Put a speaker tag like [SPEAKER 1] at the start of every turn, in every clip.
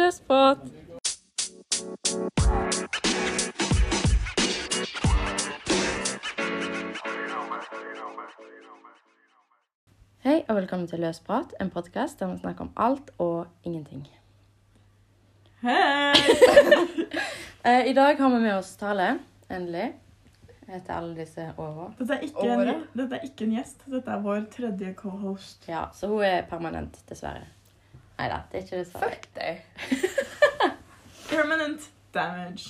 [SPEAKER 1] Løs prat. Hei og velkommen til Løs prat, en podkast der vi snakker om alt og ingenting.
[SPEAKER 2] Hei!
[SPEAKER 1] Eh, I dag har vi med oss Tale, endelig, etter alle disse åra.
[SPEAKER 2] Dette er, ikke en,
[SPEAKER 1] Året.
[SPEAKER 2] dette er ikke en gjest, dette er vår tredje co-host.
[SPEAKER 1] Ja, så hun er permanent, dessverre. Nei da, det er ikke dessverre.
[SPEAKER 3] Fuck deg.
[SPEAKER 2] Permanent damage.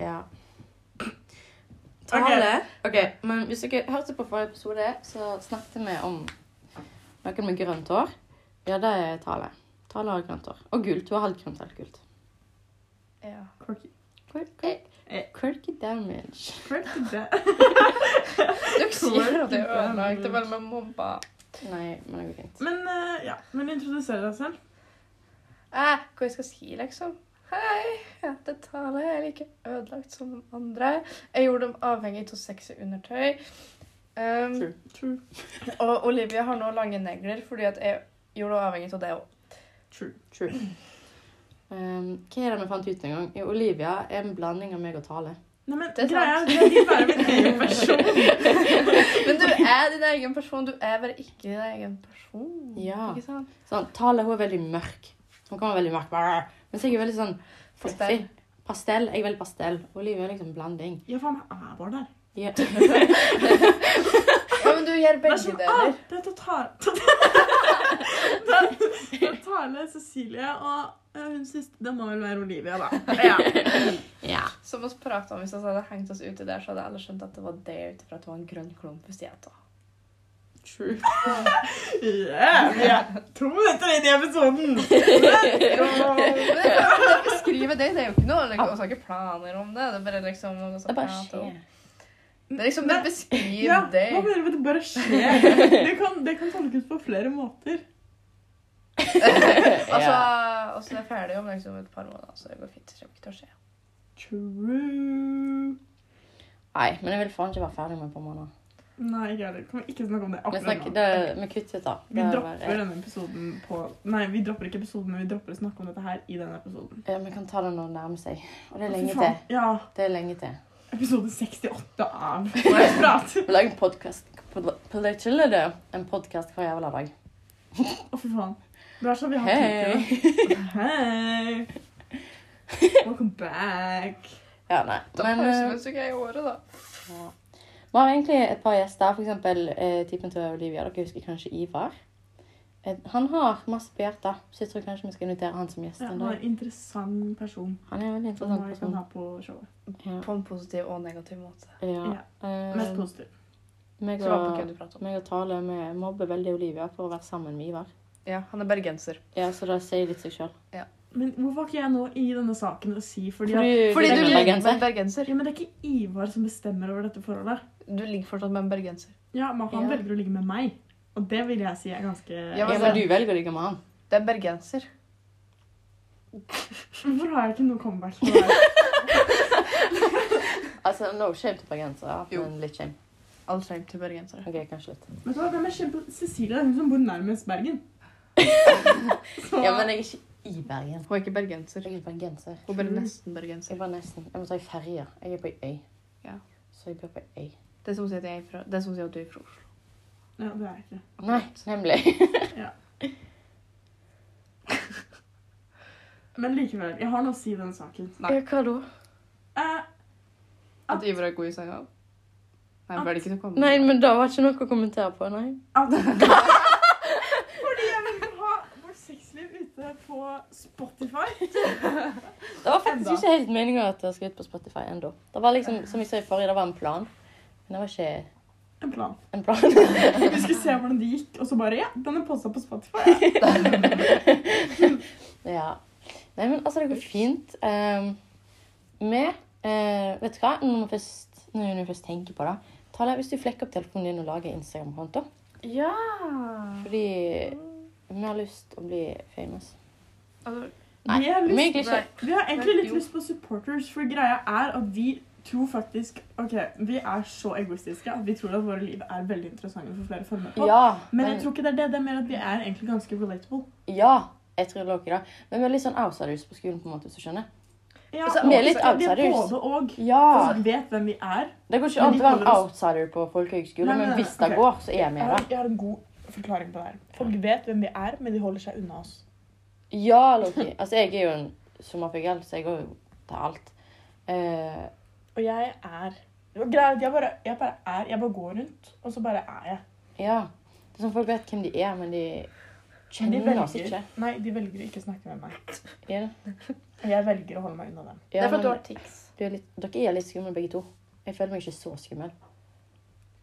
[SPEAKER 1] Ja.
[SPEAKER 2] Ok.
[SPEAKER 1] Tale. ok, men Hvis dere hørte på forrige episode, så snakket vi om noen med grønt hår. Ja, det er Tale. Tale har grønt hår. Og gult. Hun har halvt grønt, halvt gult.
[SPEAKER 3] Ja.
[SPEAKER 2] Quirky.
[SPEAKER 1] Quirk-
[SPEAKER 3] Eh.
[SPEAKER 2] Eh.
[SPEAKER 1] quirk- Quirky damage.
[SPEAKER 2] Quirky da
[SPEAKER 3] Dere sier
[SPEAKER 2] Cool.
[SPEAKER 3] at det er ødelagt. Det var med mobba.
[SPEAKER 1] Nei, men det går fint.
[SPEAKER 2] Men eh, ja, men introduser deg selv.
[SPEAKER 3] Eh, hva jeg skal si, liksom? Hei, jeg heter Tale. Jeg er like ødelagt som de andre. Jeg gjorde dem avhengig av sexy undertøy. Um,
[SPEAKER 1] True.
[SPEAKER 2] True.
[SPEAKER 3] og Olivia har nå lange negler fordi at jeg gjorde henne avhengig av det òg.
[SPEAKER 2] True.
[SPEAKER 1] True. Um, hva er det vi fant ut en gang? Jo, Olivia er en blanding av meg og Tale.
[SPEAKER 2] Nei, men
[SPEAKER 3] Det er
[SPEAKER 2] greia er
[SPEAKER 3] sant.
[SPEAKER 2] at jeg vil være min egen person.
[SPEAKER 3] Men du er din egen person. Du er bare ikke din egen person.
[SPEAKER 1] Ja.
[SPEAKER 3] Ikke sant?
[SPEAKER 1] Sånn, Tale hun er veldig mørk. Hun kan være veldig mørk. brr. Mens jeg er veldig sånn
[SPEAKER 3] Pastell.
[SPEAKER 1] fluffy. Pastell. Jeg er veldig pastell. Olivia er liksom blanding.
[SPEAKER 2] Ja, faen, jeg er bare der.
[SPEAKER 1] Ja.
[SPEAKER 3] Ja, men du
[SPEAKER 2] Det
[SPEAKER 3] gjør
[SPEAKER 2] er
[SPEAKER 3] begge
[SPEAKER 2] som, ah,
[SPEAKER 3] deler.
[SPEAKER 2] det er total... Det er- det er Tale, Cecilie og eh, hun siste, det må vel være Olivia, da. Ja.
[SPEAKER 1] ja.
[SPEAKER 3] Som oss pratet om Hvis vi hadde hengt oss uti der, så hadde alle skjønt at det var det ut ifra at det var en grønn klump hos jenta.
[SPEAKER 1] True.
[SPEAKER 2] Yeah, vi er to minutter inn i episoden.
[SPEAKER 3] Men det kan man beskrive det. Det er jo ikke noe liksom, Vi har ikke planer om det. Det er bare liksom noe sånt.
[SPEAKER 1] Det bare
[SPEAKER 3] ja,
[SPEAKER 1] skjer.
[SPEAKER 3] Det er liksom
[SPEAKER 2] Nei.
[SPEAKER 3] bare beskriv
[SPEAKER 2] Ja,
[SPEAKER 3] det.
[SPEAKER 2] hva mener du med det bare skjer? Det kan, det kan tolkes på flere måter.
[SPEAKER 3] Altså, og så er jeg ferdig om liksom et par måneder, så det går fint. Det kommer ikke til å skje.
[SPEAKER 2] True.
[SPEAKER 1] Nei, men jeg vil faen ikke være ferdig med på måneder.
[SPEAKER 2] Nei, ikke heller. Kan vi ikke snakke om det
[SPEAKER 1] Vi,
[SPEAKER 2] akkurat
[SPEAKER 1] snakker,
[SPEAKER 2] nå?
[SPEAKER 1] det, vi kutter ut, da.
[SPEAKER 2] Vi
[SPEAKER 1] Det er
[SPEAKER 2] dropper
[SPEAKER 1] bare-
[SPEAKER 2] denne episoden på Nei, vi dropper ikke episoden, men vi dropper å snakke om dette her i denne episoden.
[SPEAKER 1] Ja, vi kan ta det når det nærmer seg. Og det er
[SPEAKER 2] Fy
[SPEAKER 1] lenge
[SPEAKER 2] faen.
[SPEAKER 1] til.
[SPEAKER 2] Ja.
[SPEAKER 1] Det er lenge til.
[SPEAKER 2] Episode 68 av Prat.
[SPEAKER 1] Vi lager en podkast En podkast hver jævla dag.
[SPEAKER 2] Å, fy faen. Det er sånn vi har tid
[SPEAKER 1] Hei!
[SPEAKER 2] til det. Hei. Welcome back.
[SPEAKER 1] Ja, nei.
[SPEAKER 3] Da
[SPEAKER 1] Men
[SPEAKER 3] får vi
[SPEAKER 1] eh,
[SPEAKER 3] mens du ikke er i året, da.
[SPEAKER 1] ja. vi har egentlig et par gjester. For eksempel eh, typen til Olivia. Dere husker kanskje Ivar? Eh, han har masse på hjertet, så jeg tror kanskje vi skal invitere han som gjest
[SPEAKER 2] Ja,
[SPEAKER 1] en
[SPEAKER 2] han er
[SPEAKER 1] dag.
[SPEAKER 2] en interessant person
[SPEAKER 1] Han er en veldig
[SPEAKER 2] som vi
[SPEAKER 1] interessant
[SPEAKER 2] kan
[SPEAKER 1] person.
[SPEAKER 2] ha på showet.
[SPEAKER 1] Ja.
[SPEAKER 3] På en positiv og negativ måte.
[SPEAKER 1] Ja.
[SPEAKER 2] Mest
[SPEAKER 1] Eh,
[SPEAKER 2] positiv.
[SPEAKER 1] meg
[SPEAKER 3] Svar på hva
[SPEAKER 1] og,
[SPEAKER 3] du prater om.
[SPEAKER 1] meg og Tale vi mobber veldig Olivia for å være sammen med Ivar.
[SPEAKER 3] Ja, han er bergenser.
[SPEAKER 1] Ja, så det sier litt seg sjøl.
[SPEAKER 2] Men hvorfor har ikke jeg nå i denne saken å si fordi at
[SPEAKER 1] Fordi,
[SPEAKER 3] Fordi du
[SPEAKER 1] du
[SPEAKER 3] ligger
[SPEAKER 1] legger
[SPEAKER 3] med en
[SPEAKER 1] seg.
[SPEAKER 3] bergenser.
[SPEAKER 2] Ja, men det er ikke Ivar som bestemmer over dette forholdet.
[SPEAKER 3] Du ligger fortsatt med en bergenser.
[SPEAKER 2] Ja, men han
[SPEAKER 1] Ja.
[SPEAKER 2] velger å ligge med meg. Og det vil jeg si er ganske
[SPEAKER 1] Ja,
[SPEAKER 3] Ja, men
[SPEAKER 1] men du velger å ligge med han.
[SPEAKER 3] Det er bergenser.
[SPEAKER 2] Hvorfor har jeg ikke noe comeback? på det her?
[SPEAKER 1] Altså, no shame til bergensere,
[SPEAKER 3] Jo.
[SPEAKER 1] men litt shame.
[SPEAKER 3] All shame til bergensere.
[SPEAKER 1] Ok, kanskje litt.
[SPEAKER 2] Vet du hva, hvem er kjempe... Cecilie det er hun som bor nærmest Bergen. Så
[SPEAKER 1] Ja, men jeg er ikke i Bergen.
[SPEAKER 3] Hun er ikke bergenser.
[SPEAKER 1] Jeg er bergenser.
[SPEAKER 3] Hun er bare nesten bergenser.
[SPEAKER 1] Jeg var nesten. Jeg må ta ei ferje. Jeg er på ei øy.
[SPEAKER 3] Ja.
[SPEAKER 1] Så jeg bor på ei øy.
[SPEAKER 3] Det er som å si at, jeg er fra, det er som å si at du er fra Oslo.
[SPEAKER 2] Ja, det er jeg ikke.
[SPEAKER 1] Nei, nemlig.
[SPEAKER 2] Men likevel, jeg har noe å si i denne saken.
[SPEAKER 3] Nei.
[SPEAKER 1] hva da?
[SPEAKER 2] Eh,
[SPEAKER 3] At Ivar er god i senga. Nei,
[SPEAKER 2] At-
[SPEAKER 3] var det ikke til å komme
[SPEAKER 1] Nei, men det var ikke noe å kommentere på, nei.
[SPEAKER 2] at... Fordi jeg velger å ha vårt sexliv ute på Spotify.
[SPEAKER 1] Det var faktisk
[SPEAKER 2] Enda.
[SPEAKER 1] ikke helt meninga at det skulle ut på Spotify ennå. Det var liksom, som jeg sa i forrige, det var en plan. Men det var ikke
[SPEAKER 2] En plan.
[SPEAKER 1] en plan.
[SPEAKER 2] Vi skulle se hvordan det gikk, og så bare Ja, den er posta på Spotify. Ja.
[SPEAKER 1] ja. Nei, men altså, det går fint. Um, vi eh, Vet du hva, når vi først, når vi først tenker på det Tale, hvis du flekker opp telefonen din og lager Instagram-konto
[SPEAKER 3] Ja!
[SPEAKER 1] Fordi vi har lyst å bli famous.
[SPEAKER 3] Altså,
[SPEAKER 1] Nei,
[SPEAKER 2] Vi har lyst-
[SPEAKER 1] vi egentlig ikke.
[SPEAKER 2] Vi har egentlig litt
[SPEAKER 3] Jo.
[SPEAKER 2] lyst på supporters, for greia er at vi tror faktisk Ok, vi er så egoistiske at vi tror at våre liv er veldig interessante for flere former. på.
[SPEAKER 1] Ja,
[SPEAKER 2] Men jeg tror ikke det er det. Det er mer at vi er egentlig ganske relatable.
[SPEAKER 1] ja, jeg tror dere det. Men vi er litt sånn outsiders på skolen, på en måte, hvis du skjønner.
[SPEAKER 2] Ja,
[SPEAKER 1] Altså, vi er litt
[SPEAKER 2] og- Vi er
[SPEAKER 1] outsiders.
[SPEAKER 2] både og.
[SPEAKER 1] Ja!
[SPEAKER 2] Altså, vet hvem vi er.
[SPEAKER 1] Det går ikke
[SPEAKER 2] Men
[SPEAKER 1] an
[SPEAKER 2] de
[SPEAKER 1] til å være en
[SPEAKER 2] kaller oss-
[SPEAKER 1] outsider på folkehøyskole,
[SPEAKER 2] Nei, nei,
[SPEAKER 1] men
[SPEAKER 2] nei,
[SPEAKER 1] hvis det
[SPEAKER 2] ok.
[SPEAKER 1] går, så er vi
[SPEAKER 2] Jeg har,
[SPEAKER 1] det.
[SPEAKER 2] jeg har en god forklaring på det her. Folk vet hvem vi er, men de holder seg unna oss.
[SPEAKER 1] Ja, Loki. Altså, jeg er jo en sommerfugl, så jeg går jo til alt. Eh,
[SPEAKER 2] Og jeg er det var greit, jeg bare, jeg bare er, jeg bare går rundt, og så bare er jeg.
[SPEAKER 1] ja. Det er sånn Folk vet hvem de er, men de
[SPEAKER 2] Men de
[SPEAKER 1] kjenner oss
[SPEAKER 2] velger-
[SPEAKER 1] ikke.
[SPEAKER 2] Nei, de velger å ikke snakke med meg.
[SPEAKER 1] Er det?
[SPEAKER 2] Og jeg velger å holde meg unna dem.
[SPEAKER 3] Det
[SPEAKER 1] Ja,
[SPEAKER 3] er for at du
[SPEAKER 1] men
[SPEAKER 3] har tics.
[SPEAKER 1] du er litt, dere er litt skumle, begge to. Jeg føler meg ikke så skummel.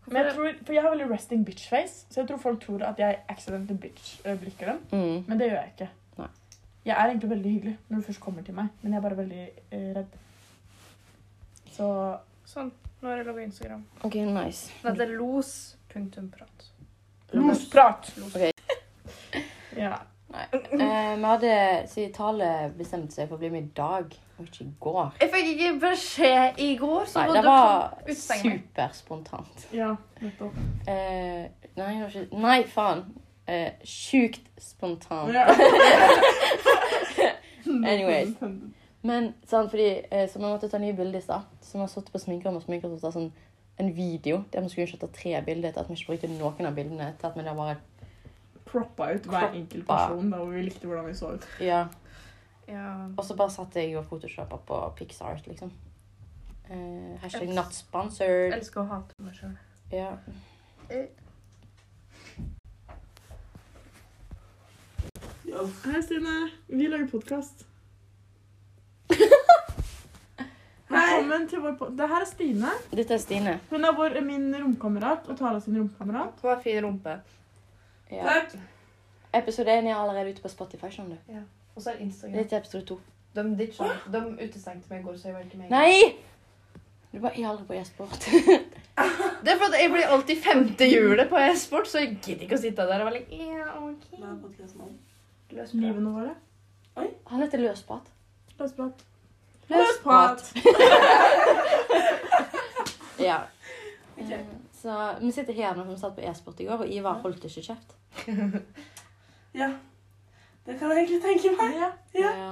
[SPEAKER 2] Men jeg tror, for jeg har veldig resting bitch-face, så jeg tror folk tror at jeg accidentally bitch, øh, blikker dem.
[SPEAKER 1] Mm.
[SPEAKER 2] Men det gjør jeg ikke.
[SPEAKER 1] Nei.
[SPEAKER 2] Jeg er egentlig veldig hyggelig når du først kommer til meg, men jeg er bare veldig eh, redd. Så
[SPEAKER 3] Sånn. Nå er det logg Instagram.
[SPEAKER 1] OK, nice.
[SPEAKER 3] Den heter los.prat.
[SPEAKER 2] Losprat!
[SPEAKER 3] Los.
[SPEAKER 1] Ok.
[SPEAKER 2] Ja.
[SPEAKER 1] Eh, vi hadde siden Tale bestemte seg for å bli med i dag, og ikke i går.
[SPEAKER 3] Jeg fikk ikke beskjed i går, så
[SPEAKER 1] Nei,
[SPEAKER 3] må
[SPEAKER 1] det
[SPEAKER 3] du
[SPEAKER 1] var
[SPEAKER 3] kan utstenge meg.
[SPEAKER 1] superspontant.
[SPEAKER 2] ja, nettopp.
[SPEAKER 1] Eh, nei, det var ikke Nei, faen. Eh, Sjukt spontant.
[SPEAKER 2] Ja.
[SPEAKER 1] Anyways. Men sånn, fordi, eh, så vi måtte ta nye bilder i stad. Så vi har sittet på sminkerommet og sminket oss og tatt sånn, en video der vi skulle ta tre bilder til at vi ikke brukte noen av bildene. til at vi da bare,
[SPEAKER 2] Proppa ut hver enkelt person da hvor vi likte hvordan vi så ut.
[SPEAKER 1] ja.
[SPEAKER 3] Ja.
[SPEAKER 1] Og så bare satt jeg og photoshopa på Pixart, liksom. Eh, hashtag not
[SPEAKER 3] Jeg
[SPEAKER 1] sponsored.
[SPEAKER 3] elsker å hate meg sjøl.
[SPEAKER 1] Ja.
[SPEAKER 2] Hei, Stine. Vi lager podkast. Velkommen til vår pod... Det her er Stine.
[SPEAKER 1] Dette er Stine.
[SPEAKER 2] Hun er vår, min romkamerat og Tala sin romkamerat.
[SPEAKER 3] Du har fin rumpe.
[SPEAKER 1] Ja. Episode 1 er allerede ute på Spotify. skjønner du?
[SPEAKER 3] Og så er Instagram.
[SPEAKER 1] Dette er episode 2.
[SPEAKER 3] De, ditcha. de utestengte meg i går, så jeg var ikke med.
[SPEAKER 1] Nei! Du bare er aldri på e-sport.
[SPEAKER 3] Det er for at jeg blir alltid femte hjulet på e-sport, så jeg gidder ikke å sitte der og være like, ja, ok. Løs prat.
[SPEAKER 2] Livene våre.
[SPEAKER 1] Han heter Løsprat.
[SPEAKER 2] Løsprat.
[SPEAKER 1] Ja. Eh, Så vi sitter her når vi satt på e-sport i går, og Ivar holdt ikke kjeft.
[SPEAKER 4] Ja. Det kan jeg egentlig tenke meg.
[SPEAKER 2] Ja.
[SPEAKER 4] Ja.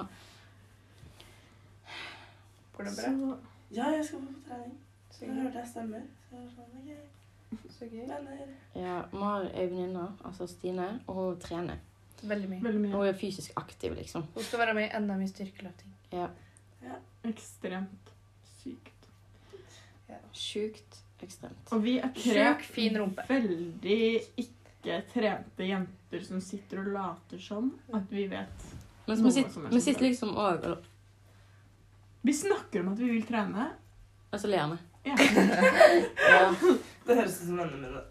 [SPEAKER 3] Går det bra?
[SPEAKER 2] Så,
[SPEAKER 4] Ja, jeg skal på trening.
[SPEAKER 3] Så
[SPEAKER 4] Så
[SPEAKER 3] gøy.
[SPEAKER 4] hørte jeg stemmer. Så jeg var sånn, ok,
[SPEAKER 3] Så gøy.
[SPEAKER 4] venner.
[SPEAKER 1] Ja, Vi har ei venninne, altså Stine, og hun trener.
[SPEAKER 3] Veldig mye.
[SPEAKER 2] veldig mye.
[SPEAKER 1] Hun er fysisk aktiv, liksom.
[SPEAKER 3] Hun skal være med i NM i styrkeløfting.
[SPEAKER 2] Ekstremt sykt.
[SPEAKER 1] Sjukt ekstremt.
[SPEAKER 2] Og vi er tre
[SPEAKER 3] Sjuk, fin rumpe.
[SPEAKER 2] veldig ikke trente jenter som sitter og later som at vi vet
[SPEAKER 1] Men vi sitter,
[SPEAKER 2] sånn
[SPEAKER 1] vi sitter liksom òg og
[SPEAKER 2] Vi snakker om at vi vil trene.
[SPEAKER 1] og så ler vi.
[SPEAKER 2] Ja.
[SPEAKER 1] Ja.
[SPEAKER 4] Det høres ut som vennene mine.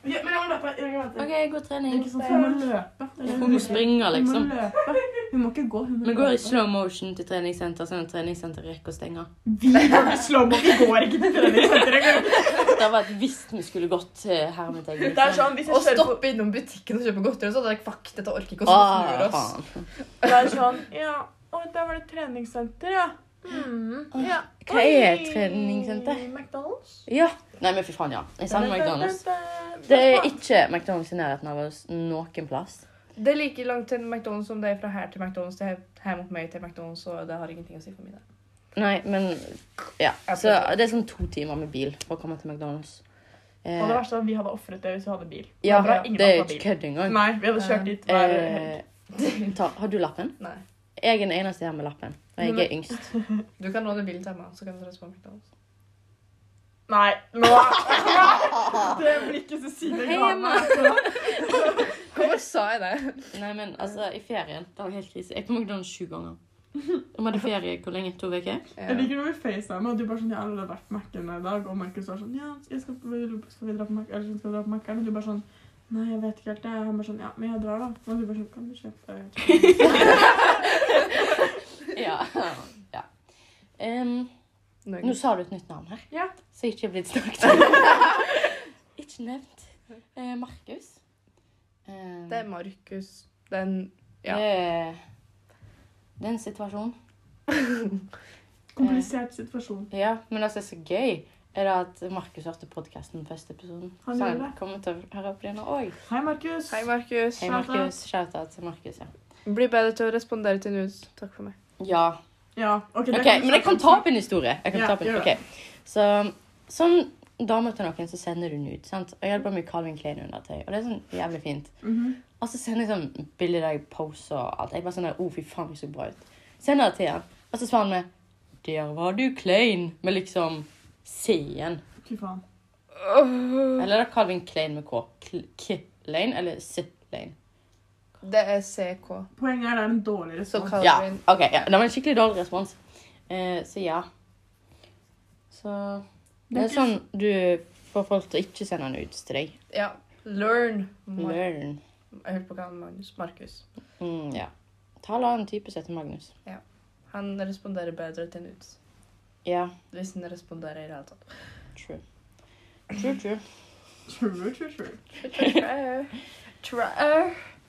[SPEAKER 4] Ok, men jeg må løpe. Jeg må løpe.
[SPEAKER 1] OK, god
[SPEAKER 2] Det er
[SPEAKER 1] trening.
[SPEAKER 2] Ikke sant, hun må løpe. Det er det
[SPEAKER 1] Hun må springe,
[SPEAKER 2] Hun
[SPEAKER 1] liksom.
[SPEAKER 2] må løpe. Hun må ikke gå. Hun må
[SPEAKER 1] Vi går i
[SPEAKER 2] løpe.
[SPEAKER 1] slow motion til treningssenter, sånn at treningssenter rekker å stenge.
[SPEAKER 2] Vi går i slow-mo. Vi går ikke til treningssenteret engang.
[SPEAKER 1] Det var et hvis vi skulle gått eh, til Hermetegn.
[SPEAKER 2] Det er sånn, hvis
[SPEAKER 3] Og
[SPEAKER 2] jeg kjører på
[SPEAKER 3] stoppe innom butikken og kjøpe godteri, så hadde jeg fuck, dette orker ikke å snur
[SPEAKER 1] Å,
[SPEAKER 3] oss.
[SPEAKER 1] Ah, faen.
[SPEAKER 2] Det er sånn Ja, å, der var det treningssenter, ja. Mm, ja.
[SPEAKER 1] Hva er
[SPEAKER 2] Oi,
[SPEAKER 1] treningssenter?
[SPEAKER 2] McDonald's.
[SPEAKER 1] Ja. Nei, men fy faen, ja. Jeg savner McDonald's. Det er ikke McDonald's i nærheten av oss noen plass.
[SPEAKER 3] Det er like langt til McDonald's som det er fra her til McDonald's. Det er her mot meg til McDonald's, og det har ingenting å si for middag.
[SPEAKER 1] Nei, men Ja. Så det er sånn to timer med bil for å komme til McDonald's. Eh,
[SPEAKER 2] Og det verste er at vi hadde offret det hvis vi hadde bil.
[SPEAKER 1] ja,
[SPEAKER 2] bra, ingen
[SPEAKER 1] det er
[SPEAKER 2] andre har
[SPEAKER 1] ikke
[SPEAKER 2] bil.
[SPEAKER 1] kødd engang.
[SPEAKER 2] Nei, vi hadde kjørt dit hver helg.
[SPEAKER 1] Eh, ta, har du lappen?
[SPEAKER 3] Nei.
[SPEAKER 1] Jeg er den eneste her med lappen. Og jeg er yngst.
[SPEAKER 3] Du kan låne bilen til meg, så kan du reise på McDonald's.
[SPEAKER 2] Nei, nå Det blikket Cecilie ga meg. altså.
[SPEAKER 3] Hvorfor sa jeg det?
[SPEAKER 1] Nei, men altså, i ferien Det var helt krise. Jeg er på McDonald's sju ganger. Vi hadde ferie hvor lenge? To uker?
[SPEAKER 2] Jeg liker når vi facetimer, og du bare sånn Jeg har allerede vært på Mac-en i dag. Og Markus var sånn Ja, jeg skal, skal vi dra på Mac-en? Eller skal vi dra på Mac-en? Og du bare sånn Nei, jeg vet ikke helt det. Han bare sånn Ja, men jeg drar, da. Og du bare sånn Kan du kjøpe
[SPEAKER 1] Ja. ja. Em, Nå
[SPEAKER 3] Nuggets.
[SPEAKER 1] sa du et nytt navn her,
[SPEAKER 2] Ja.
[SPEAKER 1] så jeg ikke er blitt snakket om. ikke nevnt. Eh, Markus. Eh,
[SPEAKER 3] Det er Markus. Den ja.
[SPEAKER 1] det er- det er en situasjon.
[SPEAKER 2] Komplisert situasjon.
[SPEAKER 1] Ja, men det som er så gøy, er det at Markus hørte podkasten første episoden.
[SPEAKER 2] Han
[SPEAKER 1] så han
[SPEAKER 2] gjorde det.
[SPEAKER 1] kommer til å høre på denne òg.
[SPEAKER 2] Hei, Markus.
[SPEAKER 3] Hei, Markus.
[SPEAKER 1] Hei,
[SPEAKER 2] Shout-out.
[SPEAKER 1] Markus. Shout-out til Markus, ja.
[SPEAKER 3] Bli bedre til å respondere til nudes. Takk for meg.
[SPEAKER 1] Ja.
[SPEAKER 2] Ja, ok, det
[SPEAKER 1] Ok,
[SPEAKER 2] kan vi
[SPEAKER 1] Men jeg kan
[SPEAKER 2] snakke
[SPEAKER 1] ta
[SPEAKER 2] om.
[SPEAKER 1] opp en historie. Jeg kan
[SPEAKER 2] Ja,
[SPEAKER 1] ta opp en,
[SPEAKER 2] gjør
[SPEAKER 1] ok.
[SPEAKER 2] det.
[SPEAKER 1] Så som dame til noen, så sender du nude. sant? Og jeg hadde på meg Calvin Klein undertøy, og det er sånn jævlig fint.
[SPEAKER 2] Mhm.
[SPEAKER 1] Og så sender jeg sånn bilder der jeg poser og alt. Jeg bare sånn der, oh, fy faen, jeg så bra ut. Sender det til han, og så svarer han med Der var du klein, med liksom C-en.
[SPEAKER 2] Fy faen.
[SPEAKER 1] Eller er det Calvin Klein med K? Kl- K-lane eller C-lane?
[SPEAKER 3] Det er CK.
[SPEAKER 2] Poenget er det er en dårlig
[SPEAKER 3] Så
[SPEAKER 2] respons.
[SPEAKER 1] Ja,
[SPEAKER 3] Calvin.
[SPEAKER 1] ok. Ja. Det var en skikkelig dårlig respons. Eh, så ja. Så Det er sånn du får folk til å ikke sende han ut til deg.
[SPEAKER 3] Ja. Learn. Mar
[SPEAKER 1] Learn.
[SPEAKER 3] Jeg hørte på hva han Magnus Markus.
[SPEAKER 1] Mm, ja. Ta la en type som heter Magnus.
[SPEAKER 3] Han responderer bedre til nudes.
[SPEAKER 1] Ja,
[SPEAKER 3] Hvis han responderer i det hele tatt.
[SPEAKER 1] true. True, true.
[SPEAKER 2] True, true, true.
[SPEAKER 3] Try. Try.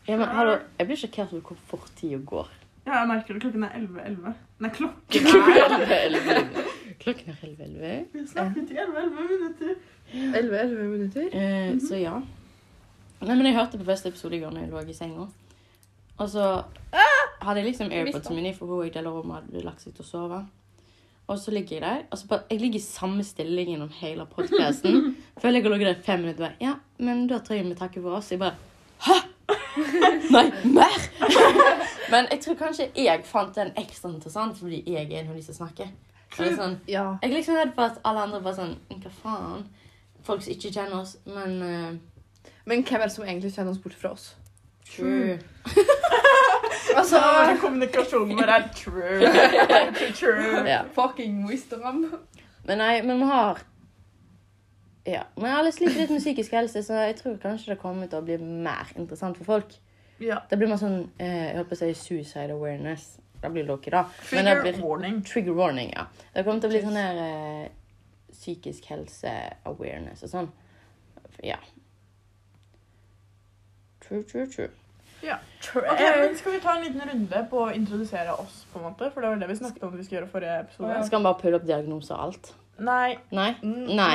[SPEAKER 1] Ja, men, hallo, jeg blir sjokkert over hvor fort tida går.
[SPEAKER 2] Ja, jeg merker det. Klokken er 11.11. Nei, klokken
[SPEAKER 1] Klokken er 11.11. Klokken er 11.11.
[SPEAKER 2] Vi snakket i 11-11 minutter.
[SPEAKER 3] 11-11 minutter.
[SPEAKER 1] Eh, Så ja. Nei, men jeg hørte på første episode i går når jeg lå i senga. Og så hadde jeg liksom
[SPEAKER 3] Jeg visste
[SPEAKER 1] airpods mine i, for hun og jeg deler rom og hadde lagt seg til å sove. Og så ligger jeg der. og så bare, jeg ligger i samme stilling gjennom hele podkasten. Føler jeg har ligget der i fem minutter. bare, Ja, men da tror jeg vi takker for oss. Jeg bare Hæ? Nei, mer? men jeg tror kanskje jeg fant den ekstra interessant fordi jeg er en av de som snakker. Så det er sånn,
[SPEAKER 3] Ja.
[SPEAKER 1] jeg er liksom redd for at alle andre bare sånn Hva faen? Folk som ikke kjenner oss, men eh,
[SPEAKER 3] Men hvem er det som egentlig kjenner oss bort fra oss?
[SPEAKER 1] True.
[SPEAKER 3] Altså,
[SPEAKER 2] Så kommunikasjonen vår er true. true.
[SPEAKER 1] Ja.
[SPEAKER 3] fucking wisdom.
[SPEAKER 1] Men nei, men vi har Ja. Men alle sliter litt med psykisk helse, så jeg tror kanskje det kommer til å bli mer interessant for folk.
[SPEAKER 2] Ja.
[SPEAKER 1] Det blir mer sånn eh, Jeg holdt på å si suicide awareness. Det blir dere, da. Men det
[SPEAKER 2] Trigger
[SPEAKER 1] blir
[SPEAKER 2] warning.
[SPEAKER 1] trigger warning, ja. Det kommer til å bli sånn her eh, psykisk helse awareness og sånn. Ja. True, true, true.
[SPEAKER 2] Ok, men Skal vi ta en liten runde på å introdusere oss? på en måte? For det var det vi snakket om vi skulle gjøre forrige episode.
[SPEAKER 1] Skal han bare pulle opp diagnoser og alt?
[SPEAKER 2] Nei,
[SPEAKER 1] Nei?
[SPEAKER 3] Mm, Nei.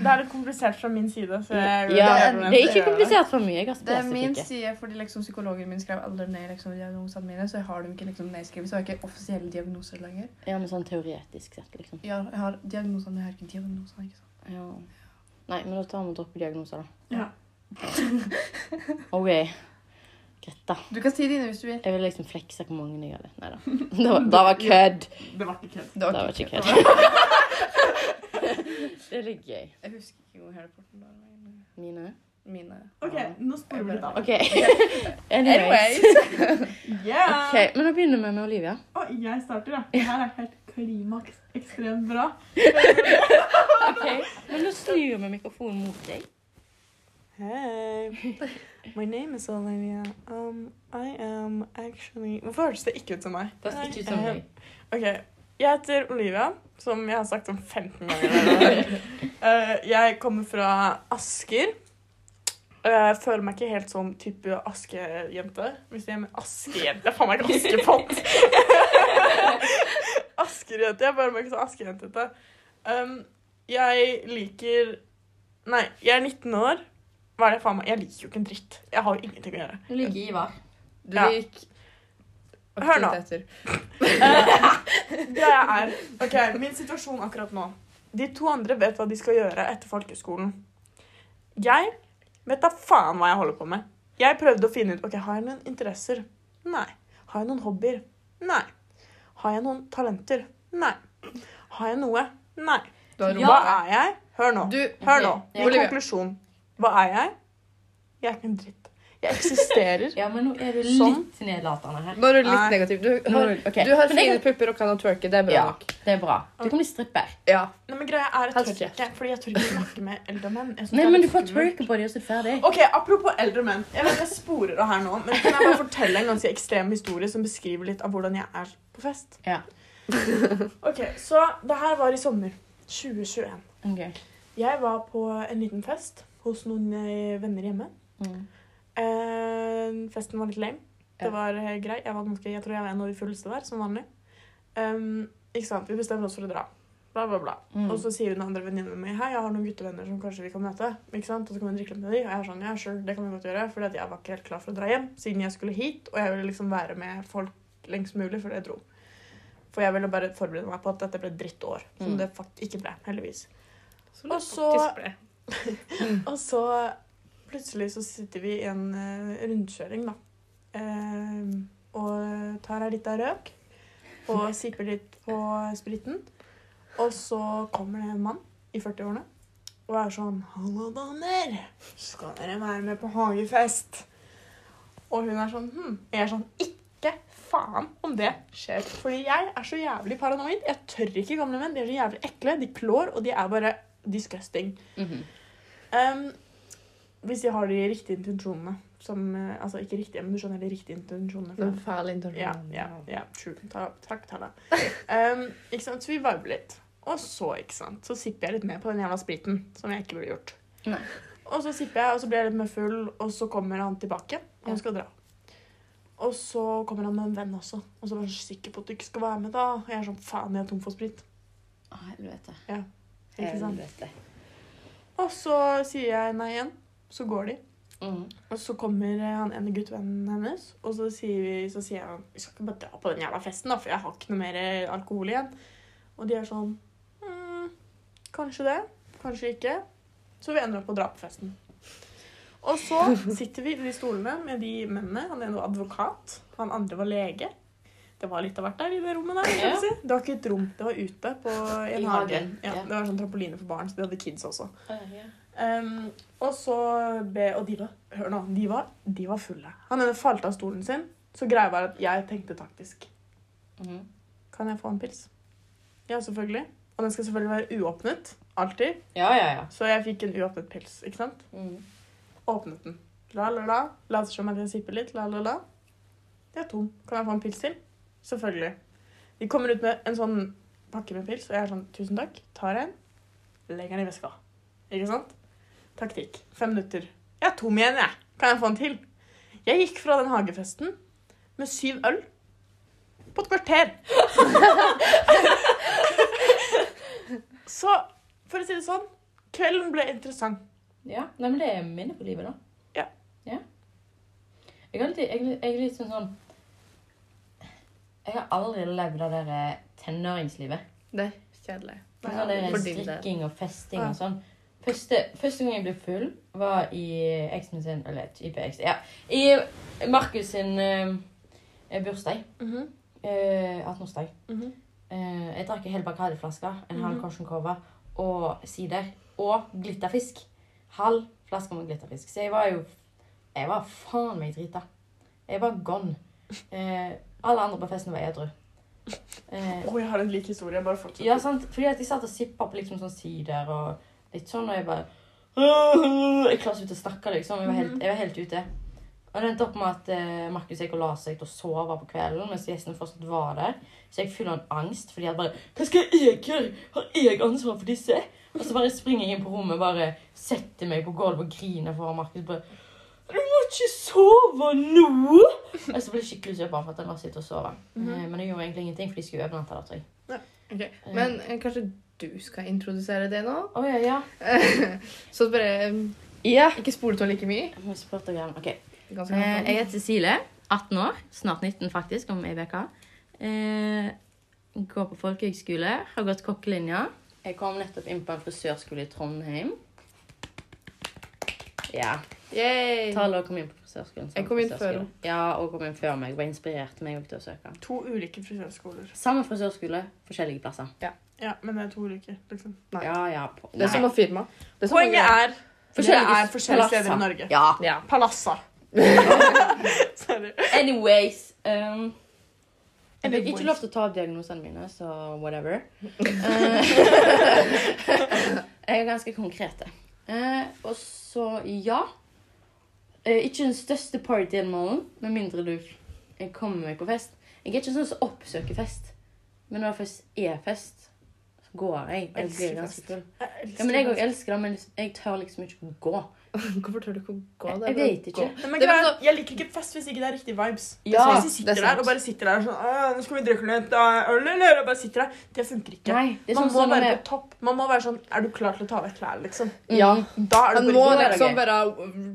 [SPEAKER 2] det er litt komplisert fra min side. så jeg...
[SPEAKER 1] Ja,
[SPEAKER 3] det er-
[SPEAKER 1] det er ikke komplisert for meg. Jeg har
[SPEAKER 3] Det er min
[SPEAKER 1] spesifikke.
[SPEAKER 3] side, fordi liksom psykologen min skrev aldri ned liksom, diagnosene mine, så jeg har dem ikke liksom, nedskrevet, så jeg har ikke offisielle diagnoser lenger.
[SPEAKER 1] Ja, men sånn teoretisk sett, liksom.
[SPEAKER 3] Ja, jeg har diagnosene, men jeg har ikke diagnosene, ikke sant?
[SPEAKER 1] Ja. Nei, men da tar vi og dropper diagnoser, da.
[SPEAKER 2] Ja.
[SPEAKER 1] OK. Greit, da.
[SPEAKER 3] Du kan si dine hvis du vil.
[SPEAKER 1] Jeg vil liksom flekse hvor mange jeg hadde. Nei da. Det var, det var kødd.
[SPEAKER 2] Det var ikke kødd.
[SPEAKER 1] Det
[SPEAKER 3] Det
[SPEAKER 1] var
[SPEAKER 3] ikke-
[SPEAKER 1] ikke kødd. Det er litt gøy.
[SPEAKER 3] Jeg husker ikke hvor Harry-porten var. men
[SPEAKER 1] Mine.
[SPEAKER 3] Mine.
[SPEAKER 2] Ok, nå sporer vi litt av.
[SPEAKER 1] OK. Anyways.
[SPEAKER 2] Yeah!
[SPEAKER 1] Ok, men da begynner vi med Olivia.
[SPEAKER 2] Og jeg starter, ja. Det her er helt klimaks ekstremt bra.
[SPEAKER 1] Ok, Men nå snur vi mikrofonen mot deg.
[SPEAKER 2] Hey. My name is Olivia. Um, I am actually Hvorfor hørtes det er ikke ut som meg?
[SPEAKER 1] Det ser ikke ut som deg.
[SPEAKER 2] Ok, Jeg heter Olivia, som jeg har sagt om 15 ganger. Eh, jeg kommer fra Asker. Eh, Jeg føler meg ikke helt som type askejente. Hvis jeg er med askejente Jeg faen meg ikke askepott! Askerjente. Jeg føler meg ikke så askejentete. Um, jeg liker Nei, jeg er 19 år. Hva er det faen meg? Jeg liker jo ikke en dritt. Jeg har jo ingenting å gjøre.
[SPEAKER 1] Du ligger i Ivar.
[SPEAKER 3] Du
[SPEAKER 2] Ja.
[SPEAKER 3] gikk
[SPEAKER 2] Hør nå.
[SPEAKER 3] aktiviteter.
[SPEAKER 2] Greia er Ok, min situasjon akkurat nå. De to andre vet hva de skal gjøre etter folkeskolen. Jeg vet da faen hva jeg holder på med. Jeg prøvde å finne ut Ok, har jeg noen interesser. Nei. Har jeg noen hobbyer? Nei. Har jeg noen talenter? Nei. Har jeg noe? Nei.
[SPEAKER 3] Du har
[SPEAKER 2] Hva
[SPEAKER 1] Ja.
[SPEAKER 2] er jeg? Hør nå.
[SPEAKER 3] Du,
[SPEAKER 2] Hør nå.
[SPEAKER 1] Ok,
[SPEAKER 2] Min
[SPEAKER 3] Olivia.
[SPEAKER 2] konklusjon. Hva er jeg? Jeg er ikke en dritt. Jeg eksisterer.
[SPEAKER 1] Ja, men nå er du litt
[SPEAKER 2] Sånn.
[SPEAKER 1] nedlatende her.
[SPEAKER 3] nå er du
[SPEAKER 2] Nei.
[SPEAKER 3] litt negativ. Du
[SPEAKER 1] Nå er
[SPEAKER 3] har,
[SPEAKER 1] du- ok.
[SPEAKER 3] du har
[SPEAKER 1] Men det
[SPEAKER 3] fine
[SPEAKER 1] kan-
[SPEAKER 3] pupper og kan å twerke. Det er bra
[SPEAKER 1] Ja,
[SPEAKER 3] nok.
[SPEAKER 1] det er bra. Du kan bli stripper.
[SPEAKER 3] Ja.
[SPEAKER 2] Nei, men greia er, jeg
[SPEAKER 3] Helt
[SPEAKER 2] tør ikke. Fordi jeg tør ikke snakke med eldre menn. Jeg synes
[SPEAKER 1] Nei,
[SPEAKER 2] det er
[SPEAKER 1] men du
[SPEAKER 2] litt
[SPEAKER 1] får
[SPEAKER 2] skummelt.
[SPEAKER 1] twerke på dem, og så er du ferdig.
[SPEAKER 2] Ok, Apropos eldre menn. Jeg vet jeg sporer av her nå, men kan jeg bare fortelle en ganske ekstrem historie som beskriver litt av hvordan jeg er på fest?
[SPEAKER 1] Ja.
[SPEAKER 2] Ok, Så det her var i sommer 2021.
[SPEAKER 1] Ok.
[SPEAKER 2] Jeg var på en liten fest hos noen eh, venner hjemme.
[SPEAKER 1] Mm.
[SPEAKER 2] Eh, festen var litt lame.
[SPEAKER 1] Ja.
[SPEAKER 2] Det var eh, grei. Jeg, var ganske, jeg tror jeg var en av de fulleste der, som vanlig. Um, ikke sant, vi bestemmer oss for å dra. Bla, bla, bla.
[SPEAKER 1] Mm.
[SPEAKER 2] Og så sier hun andre venninnen min hei, jeg har noen guttevenner som kanskje vi kan møte. Ikke sant? Og så kan vi drikke litt med dem. Og jeg er sånn, ja, sure, det kan vi godt gjøre. For jeg var ikke helt klar for å dra hjem siden jeg skulle hit. Og jeg ville liksom være med folk lengst mulig før jeg dro. For jeg ville bare forberede meg på at dette ble et drittår. Som
[SPEAKER 1] Mm.
[SPEAKER 2] det fakt ikke ble, heldigvis.
[SPEAKER 3] Som det
[SPEAKER 2] Og så-
[SPEAKER 3] faktisk ble.
[SPEAKER 2] Og så plutselig så sitter vi i en eh, rundkjøring, da. Eh, og tar ei lita røk. Og sipper litt på spriten. Og så kommer det en mann i 40-årene og er sånn 'Hallo, damer. Skal dere være med på hagefest?' Og hun er sånn hm. Jeg er sånn Ikke faen om det skjer. Fordi jeg er så jævlig paranoid. Jeg tør ikke gamle menn. De er så jævlig ekle. De klår, og de er bare disgusting.
[SPEAKER 1] Mhm.
[SPEAKER 2] Ehm, hvis de har de riktige intensjonene som eh, Altså ikke riktige, men du skjønner de riktige intensjonene. for-
[SPEAKER 3] Den fæle
[SPEAKER 2] ja,
[SPEAKER 3] intervjuen.
[SPEAKER 2] ja, ja, true. Ta, takk, Tala. Ehm, ikke sant, så vi viber litt. Og så, ikke sant, så sipper jeg litt mer på den jævla spriten, som jeg ikke burde gjort.
[SPEAKER 1] Nei.
[SPEAKER 2] Og så sipper jeg, og så blir jeg litt mer full, og så kommer han tilbake, og
[SPEAKER 1] Ja.
[SPEAKER 2] han skal dra. Og så kommer han med en venn også, og så var han så sikker på at du ikke skal være med da. Og jeg er sånn, faen, jeg er tom for sprit.
[SPEAKER 1] Å, helvete.
[SPEAKER 2] Ikke sant?
[SPEAKER 1] Helvete.
[SPEAKER 2] Og så sier jeg nei igjen, så går de.
[SPEAKER 1] Mm.
[SPEAKER 2] Og så kommer eh, han ene guttvennen hennes, og så sier, vi, så sier jeg vi skal ikke bare dra på den jævla festen, da, for jeg har ikke noe mer eh, alkohol igjen. Og de er sånn mm, Kanskje det, kanskje ikke. Så vi ender opp på å dra på festen. Og så sitter vi i de stolene med de mennene. Han ene var advokat, han andre var lege. Det var litt av hvert der i det rommet der. kan
[SPEAKER 1] Ja.
[SPEAKER 2] jeg si. Det var ikke et rom, det var ute på, i
[SPEAKER 1] I
[SPEAKER 2] en
[SPEAKER 1] hagen,
[SPEAKER 2] hage. Ja,
[SPEAKER 1] ja.
[SPEAKER 2] det var sånn trampoline for barn, så de hadde kids også. Um, og så be, Og de var Hør nå. De var, de var fulle. Han ene falt av stolen sin. Så greia var at jeg tenkte taktisk.
[SPEAKER 1] Mhm.
[SPEAKER 2] Kan jeg få en pils? Ja, selvfølgelig. Og den skal selvfølgelig være uåpnet. Alltid.
[SPEAKER 1] Ja, ja, ja.
[SPEAKER 2] Så jeg fikk en uåpnet pils. ikke sant?
[SPEAKER 1] Mm.
[SPEAKER 2] Åpnet den. La, la, la. Later som at jeg sipper litt. La, la, la. Det er tom. Kan jeg få en pils til? Selvfølgelig. De kommer ut med en sånn pakke med pils, og jeg er sånn Tusen takk. Tar en. Legger den i veska. Ikke sant? Taktikk. Fem minutter. Jeg er tom igjen, jeg. Kan jeg få en til? Jeg gikk fra den hagefesten med syv øl på et kvarter. Så for å si det sånn Kvelden ble interessant.
[SPEAKER 1] Ja, nei, men det er minnet på livet, da.
[SPEAKER 2] Ja.
[SPEAKER 1] ja. Jeg har alltid, jeg, jeg er litt sånn sånn Jeg har aldri levd av det der eh, tenåringslivet.
[SPEAKER 3] Det er kjedelig.
[SPEAKER 1] Sånn der
[SPEAKER 3] for din del.
[SPEAKER 1] strikking og festing
[SPEAKER 2] Ja.
[SPEAKER 1] og sånn. Første, første gang jeg ble full, var i eksen sin Eller type eks. Ja. I Markus sin eh, bursdag.
[SPEAKER 2] Mhm,
[SPEAKER 1] eh, 18-årsdag.
[SPEAKER 2] mhm.
[SPEAKER 1] Eh, jeg drakk en hel Bacardi-flaske, en halv
[SPEAKER 2] Mhm.
[SPEAKER 1] Corson Cova og sider. Og glitterfisk. Halv flaske med glitterfisk. Så jeg var jo Jeg var faen meg drita. Jeg var gone. Eh, alle andre på festen var edru. Eh,
[SPEAKER 2] Å, jeg har en lik historie. Bare fortsett.
[SPEAKER 1] ja, sant? Fordi at jeg satt og sippa på liksom sånn sider og litt sånn, og jeg bare Jeg klarte ikke ut å snakke, liksom. Jeg var helt, jeg var helt ute. Og det endte opp med at eh, Markus gikk og la seg til å sove på kvelden mens gjestene fortsatt var der. Så jeg fyller en angst, fordi jeg bare Hva skal jeg gjøre? Har jeg ansvar for disse? Og så bare springer jeg inn på rommet, bare setter meg på gulvet og griner foran Markus. bare du må ikke sove nå! Og så ble jeg skikkelig sur på han for at han la seg til å sove.
[SPEAKER 2] Mhm.
[SPEAKER 1] Eh, Men det gjorde egentlig ingenting, for de skulle overnatte der, tror jeg.
[SPEAKER 3] Ok,
[SPEAKER 1] Mm.
[SPEAKER 3] Men eh, kanskje du skal introdusere det nå?
[SPEAKER 1] Å, ja, ja.
[SPEAKER 3] Så bare eh,
[SPEAKER 1] Ja.
[SPEAKER 3] ikke spole av like mye.
[SPEAKER 1] Jeg må spørre deg igjen. Ok.
[SPEAKER 3] Ganske
[SPEAKER 1] Eh,
[SPEAKER 3] godt.
[SPEAKER 1] jeg heter Cecilie, 18 år, snart 19 faktisk, om ei uke. Eh, går på folkehøgskole, har gått kokkelinja. Jeg kom nettopp inn på en frisørskole i Trondheim. Ja.
[SPEAKER 3] Yay!
[SPEAKER 1] Tala kom inn på frisørskolen. som
[SPEAKER 3] Jeg kom inn før
[SPEAKER 1] frisørskole.
[SPEAKER 3] henne.
[SPEAKER 1] Ja, og kom inn før meg. Var inspirert meg også til å søke.
[SPEAKER 2] To ulike frisørskoler.
[SPEAKER 1] Samme frisørskole, forskjellige plasser.
[SPEAKER 2] Ja, men det er to ulike. liksom.
[SPEAKER 3] Nei.
[SPEAKER 1] Ja, ja. på-
[SPEAKER 3] Det er som
[SPEAKER 1] Nei.
[SPEAKER 3] å firma. Det er som å-
[SPEAKER 2] Poenget er
[SPEAKER 1] Forskjellige
[SPEAKER 2] det er forskjellige
[SPEAKER 1] plasser.
[SPEAKER 2] steder i Norge.
[SPEAKER 1] Ja.
[SPEAKER 3] Ja.
[SPEAKER 2] Palassa. Sorry.
[SPEAKER 1] Anyways. Um, jeg fikk
[SPEAKER 2] Anyways.
[SPEAKER 1] ikke lov til å ta opp diagnosene mine, så whatever. Eh, jeg er ganske konkrete. Eh, og så, ja Eh, Ikke den største party-animalen, med mindre du jeg kommer meg på fest. Jeg er ikke sånn som oppsøker fest, men når det først er fest, så går jeg. Og jeg
[SPEAKER 2] Elsker
[SPEAKER 1] blir ganske
[SPEAKER 2] fest.
[SPEAKER 1] full.
[SPEAKER 2] Jeg elsker
[SPEAKER 1] Ja, men jeg
[SPEAKER 2] det.
[SPEAKER 1] òg elsker det, men jeg tør liksom ikke å gå.
[SPEAKER 3] Hvorfor tør du ikke å gå der?
[SPEAKER 1] Jeg vet ikke.
[SPEAKER 3] Gå.
[SPEAKER 2] Men, men
[SPEAKER 3] Det var
[SPEAKER 2] greia er,
[SPEAKER 3] så-
[SPEAKER 2] jeg liker ikke fest hvis ikke det er riktig vibes.
[SPEAKER 1] Ja,
[SPEAKER 2] så hvis de
[SPEAKER 3] det er
[SPEAKER 2] sitter der
[SPEAKER 3] sant.
[SPEAKER 2] og bare sitter der sånn «Åh, 'Nå skal vi drikke litt øh, øl', eller og bare sitter der. Det funker ikke.
[SPEAKER 1] Nei, det er
[SPEAKER 2] Man
[SPEAKER 1] sånn
[SPEAKER 2] må
[SPEAKER 1] som
[SPEAKER 2] være
[SPEAKER 1] med-
[SPEAKER 2] på topp. Man må være sånn 'Er du klar til å ta av deg klærne?' liksom.
[SPEAKER 3] Ja.
[SPEAKER 2] Da er
[SPEAKER 3] Han
[SPEAKER 2] du
[SPEAKER 3] må
[SPEAKER 2] på
[SPEAKER 1] Mm. det
[SPEAKER 2] riktig.
[SPEAKER 1] er
[SPEAKER 3] liksom
[SPEAKER 1] gøy.
[SPEAKER 3] bare mm,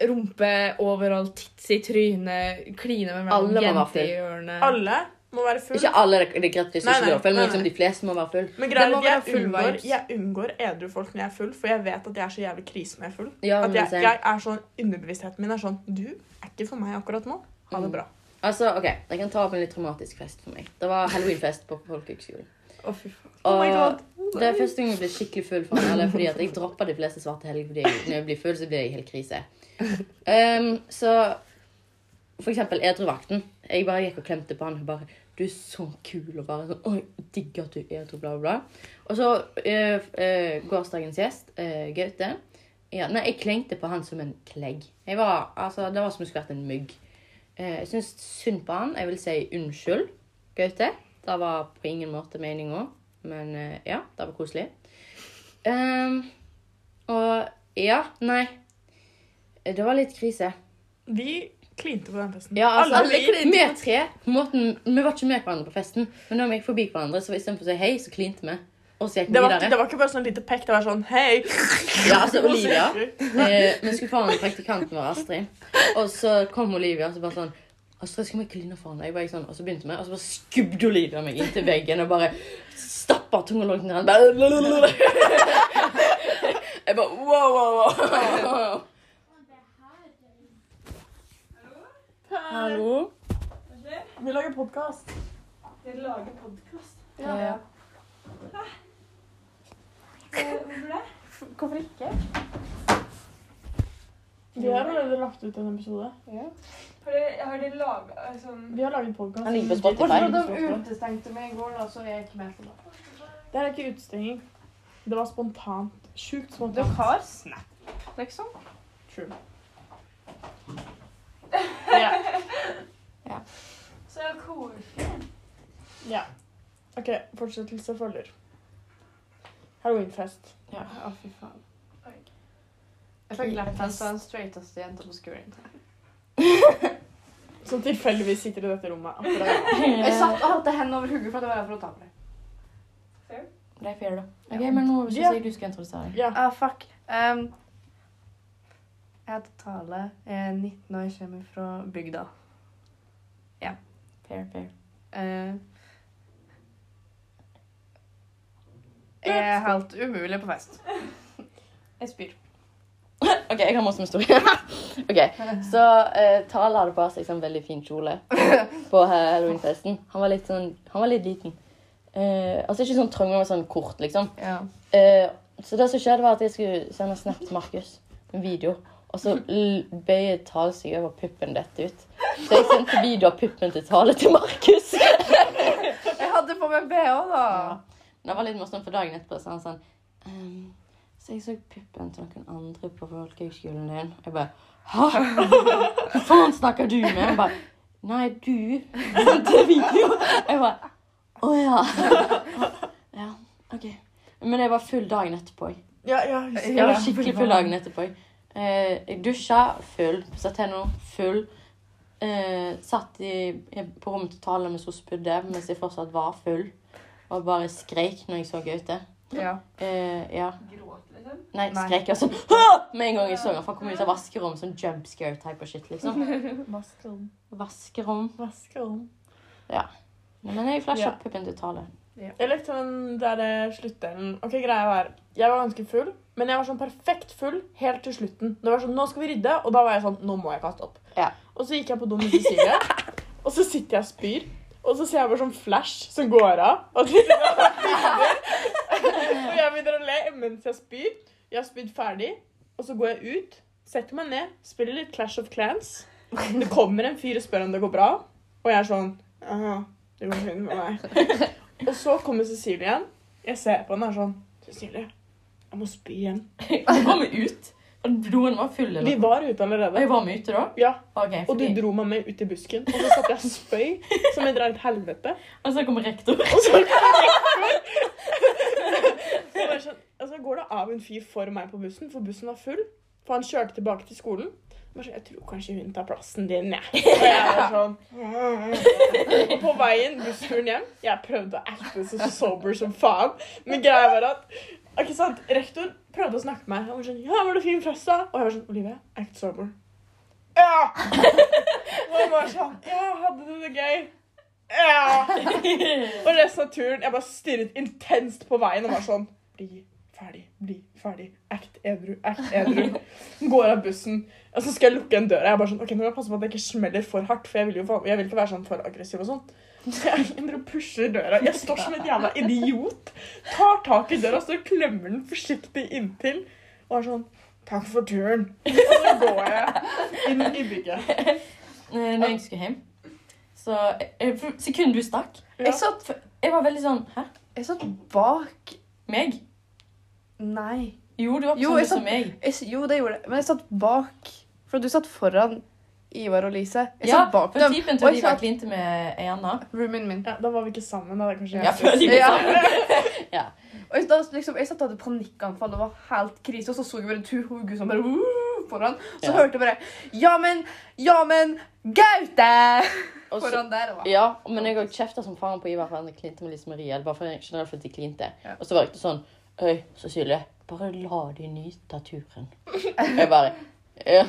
[SPEAKER 3] rumpe overalt, tits i trynet, kline med
[SPEAKER 1] Alle må
[SPEAKER 3] hverandre,
[SPEAKER 1] være
[SPEAKER 3] jente
[SPEAKER 1] full.
[SPEAKER 3] i hjørnet.
[SPEAKER 2] Alle må være full.
[SPEAKER 1] Ikke alle det det er greit hvis
[SPEAKER 2] Nei,
[SPEAKER 1] ikke du
[SPEAKER 2] nei,
[SPEAKER 1] er full, men
[SPEAKER 2] nei,
[SPEAKER 1] liksom
[SPEAKER 2] nei.
[SPEAKER 1] de fleste må være full.
[SPEAKER 2] Men
[SPEAKER 3] Det
[SPEAKER 2] greia er
[SPEAKER 3] må
[SPEAKER 2] at jeg
[SPEAKER 3] være full
[SPEAKER 2] unngår,
[SPEAKER 3] vibes.
[SPEAKER 2] jeg unngår edru folk når jeg er full, for jeg vet at jeg er så jævlig krise når jeg er full.
[SPEAKER 1] Ja,
[SPEAKER 2] At
[SPEAKER 1] men
[SPEAKER 2] jeg,
[SPEAKER 1] same.
[SPEAKER 2] jeg er sånn, Underbevisstheten min er sånn Du er ikke for meg akkurat nå. Ha det
[SPEAKER 1] Mm.
[SPEAKER 2] bra.
[SPEAKER 1] Altså, ok, Jeg kan ta opp en litt traumatisk fest for meg. Det var halloweenfest på folkehøgskolen.
[SPEAKER 3] Å, fy faen.
[SPEAKER 1] Og
[SPEAKER 2] Oh my God.
[SPEAKER 1] det er første gang jeg ble skikkelig full. For meg, eller fordi at Jeg droppa de fleste svarte helger fordi jeg, når jeg blir full, så blir jeg helt krise. Ehm, så for eksempel edruvakten. Jeg bare gikk og klemte på han. Hun bare 'Du er så kul', og bare sånn 'Oi, jeg digger at du er edru', bla, bla, bla. Og så eh, eh, gårsdagens gjest, eh, Gaute ja, Nei, jeg klengte på han som en klegg. Jeg var, altså, Det var som om jeg skulle vært en mygg. Eh, jeg syns synd på han. Jeg vil si unnskyld, Gaute. Det var på ingen måte meninga, men eh, ja, det var koselig. Ehm, og ja, nei. Det var litt krise.
[SPEAKER 2] Vi klinte på den festen.
[SPEAKER 1] Ja, altså,
[SPEAKER 2] Alle vi-
[SPEAKER 1] vi, vi tre på måten, Vi var ikke med hverandre på festen, men når vi gikk forbi hverandre, så istedenfor å si hei, så klinte vi. Og så gikk vi
[SPEAKER 2] det, var ikke,
[SPEAKER 1] videre.
[SPEAKER 2] det var ikke bare sånn lite pekk. Det var sånn Hei!
[SPEAKER 1] Ja, altså, Olivia. Eh, vi skulle foran praktikanten vår, Astrid. Og så kom Olivia og så bare sånn Astrid, skal vi kline foran deg? Jeg bare gikk sånn, og så begynte vi, og så bare skubbet Olivia meg inntil veggen og bare stappa tunga langt ned. Bare, lalalala. jeg bare wow, wow, wow. Hallo?
[SPEAKER 2] Vi lager podkast.
[SPEAKER 4] Dere lager podkast.
[SPEAKER 3] Ja, ja.
[SPEAKER 4] Hvorfor det?
[SPEAKER 3] Hvorfor ikke?
[SPEAKER 2] Vi har allerede lagt ut en episode.
[SPEAKER 3] Ja.
[SPEAKER 4] Har dere, har dere laget eh, sånn
[SPEAKER 2] Vi har laget podkast.
[SPEAKER 1] Han ligger på Spotify.
[SPEAKER 3] Når de utestengte meg i går, da, så er jeg ikke med på det.
[SPEAKER 2] Det her er ikke utestenging. Det var spontant. Sjukt
[SPEAKER 3] Du
[SPEAKER 2] spontant.
[SPEAKER 3] har snap, liksom.
[SPEAKER 2] True.
[SPEAKER 4] Så koselig.
[SPEAKER 2] Ja. OK, fortsettelse følger. Halloweenfest.
[SPEAKER 3] Ja, å, fy faen.
[SPEAKER 4] Oi.
[SPEAKER 3] Jeg fikk lættest av den straighteste jenta på skolen.
[SPEAKER 2] Som tilfeldigvis sitter i dette rommet akkurat nå.
[SPEAKER 3] Jeg satt og holdt hendene over hodet for at jeg var her for å ta på deg.
[SPEAKER 1] Det er fair, da. Ok, Men nå syns
[SPEAKER 2] Ja.
[SPEAKER 1] jeg du skal introdusere deg.
[SPEAKER 2] Ja.
[SPEAKER 3] Ah, fuck. Ehm, jeg heter Tale, jeg er 19 år, kommer fra bygda.
[SPEAKER 1] Fair, fair.
[SPEAKER 3] Eh, jeg er helt umulig på fest. Jeg spyr.
[SPEAKER 1] OK, jeg har masse med historie. OK, Så eh, Tale hadde på seg sånn veldig fin kjole på halloweenfesten. Han var litt sånn, han var litt liten. Eh, altså ikke sånn trang, men sånn kort, liksom.
[SPEAKER 3] Ja.
[SPEAKER 1] Eh, så det som skjedde, var at jeg skulle sende snap til Markus, en video. Og så l- bøyer Tale seg over puppen dette ut. Så jeg sendte video av puppen til Tale til Markus.
[SPEAKER 3] Jeg hadde på meg BH, da.
[SPEAKER 1] Det var litt morsomt, for dagen etterpå så han sånn «Ehm, Så jeg så puppen til noen andre på folkehøgskolen din. Jeg bare Hæ? Hva faen snakker du med? Han bare Nei, du sendte video. Jeg bare Å ja. Ja, OK. Men jeg var full dagen etterpå. jeg.
[SPEAKER 2] Ja, ja, jeg husker
[SPEAKER 1] Jeg var
[SPEAKER 2] det.
[SPEAKER 1] skikkelig full dagen etterpå. jeg. Eh, Jeg dusja full, satt henne full. Eh, satt i, på rommet til Tale mens hun spydde, mens jeg fortsatt var full. Og bare skreik når jeg så Gaute.
[SPEAKER 3] Ja.
[SPEAKER 1] Eh, ja.
[SPEAKER 4] Gråt, liksom.
[SPEAKER 1] Nei,
[SPEAKER 3] Nei.
[SPEAKER 1] skrek jeg sånn «Hå!» Med en gang jeg så han, for han kom ut av vaskerom. Sånn jumpscare type og shit, liksom.
[SPEAKER 2] Vaskerom.
[SPEAKER 1] Vaskerom.
[SPEAKER 2] Vaskerom.
[SPEAKER 1] Men jeg flasha
[SPEAKER 2] Ja.
[SPEAKER 1] opp puppen til Tale.
[SPEAKER 2] Jeg likte den der eh, sluttdelen. Ok, greia var, Jeg var ganske full, men jeg var sånn perfekt full helt til slutten. Det var sånn, Nå skal vi rydde, og da var jeg sånn Nå må jeg kaste opp.
[SPEAKER 1] Ja.
[SPEAKER 2] Og så gikk jeg på do med Cecilie, og så sitter jeg og spyr. Og så ser jeg bare sånn flash som går av. Og, til, og jeg begynner å le mens jeg spyr. Jeg har spydd ferdig, og så går jeg ut, setter meg ned, spiller litt Clash of Clans. Det kommer en fyr og spør om det går bra, og jeg er sånn Aha, det går fint med meg. Og så kommer Cecilie igjen. Jeg ser på henne og er sånn Cecilie, jeg må spy igjen.
[SPEAKER 1] Jeg var med ut. Og doen var full.
[SPEAKER 2] Vi var ute allerede.
[SPEAKER 1] var med ute da?
[SPEAKER 2] Ja,
[SPEAKER 1] Ok,
[SPEAKER 2] Og du dro meg med ut i busken. Og så satt jeg og spøy som et rent helvete.
[SPEAKER 1] og så kom rektor.
[SPEAKER 2] Og så Og jeg bare sånn, altså, går det av en fyr for meg på bussen, for bussen var full. For han kjørte tilbake til skolen. Han var sånn, Jeg tror kanskje hun tar plassen din, jeg. Og jeg var sånn Og på veien, bussturen hjem, jeg prøvde å acte så sober som faen. Men greia var at ikke sant, rektor prøvde å snakke med meg. Han var sånn Ja, var det fin fest, da? Og jeg var sånn Olivia, act sober. Ja! Og jeg var sånn Ja, hadde du det gøy? Ja! Og resten av turen, jeg bare stirret intenst på veien og var sånn Bli ferdig, bli ferdig. Act edru, act edru. Går av bussen, og så skal jeg lukke en dør. Jeg er bare sånn, ok, nå må jeg passe på at jeg ikke smeller for hardt, for jeg vil jo faen- jeg vil ikke være sånn for aggressiv og sånn. Så jeg ender og pusher døra. Jeg står som en jævla idiot. Tar tak i døra, så klemmer den forsiktig inntil. Og er sånn Takk for turen. Og så går jeg inn i bygget.
[SPEAKER 1] Eh, Når jeg skulle hjem, så eh, for Sekunden du stakk,
[SPEAKER 2] Ja.
[SPEAKER 3] Jeg satt,
[SPEAKER 1] jeg var veldig sånn Hæ?
[SPEAKER 3] jeg satt bak
[SPEAKER 1] Meg?
[SPEAKER 3] Nei.
[SPEAKER 1] Jo, du var på
[SPEAKER 3] Jo,
[SPEAKER 1] samme
[SPEAKER 3] jeg
[SPEAKER 1] som meg.
[SPEAKER 3] Jeg, s- jo, det gjorde jeg. Men jeg satt bak. For du satt foran Ivar og Lise. Jeg
[SPEAKER 1] Ja,
[SPEAKER 3] satt bak
[SPEAKER 1] for
[SPEAKER 3] dem.
[SPEAKER 1] typen
[SPEAKER 3] og
[SPEAKER 1] til
[SPEAKER 3] jeg
[SPEAKER 1] Liva
[SPEAKER 3] satt-
[SPEAKER 1] klinte med Eianna.
[SPEAKER 3] Roomien min.
[SPEAKER 2] Ja, da var vi ikke sammen. da. Det er kanskje
[SPEAKER 1] Ja, før de ble
[SPEAKER 3] Ja.
[SPEAKER 1] sammen.
[SPEAKER 3] Og jeg, da, liksom, jeg satt og hadde panikkanfall og var helt krise, og så så jeg bare to hoder som bare uh, foran. Så
[SPEAKER 1] Ja.
[SPEAKER 3] hørte jeg bare Ja, men, ja, men Gaute!
[SPEAKER 1] Og så-
[SPEAKER 3] Foran der. Og bare,
[SPEAKER 1] Ja, men jeg òg kjefta som faren på Ivar for han klinte med Lise Marie. Eller bare for generelt for at de klinte.
[SPEAKER 3] Ja.
[SPEAKER 1] Og så var det ikke sånn Øy, Cecilie, bare la de nyte av turen. jeg bare ja.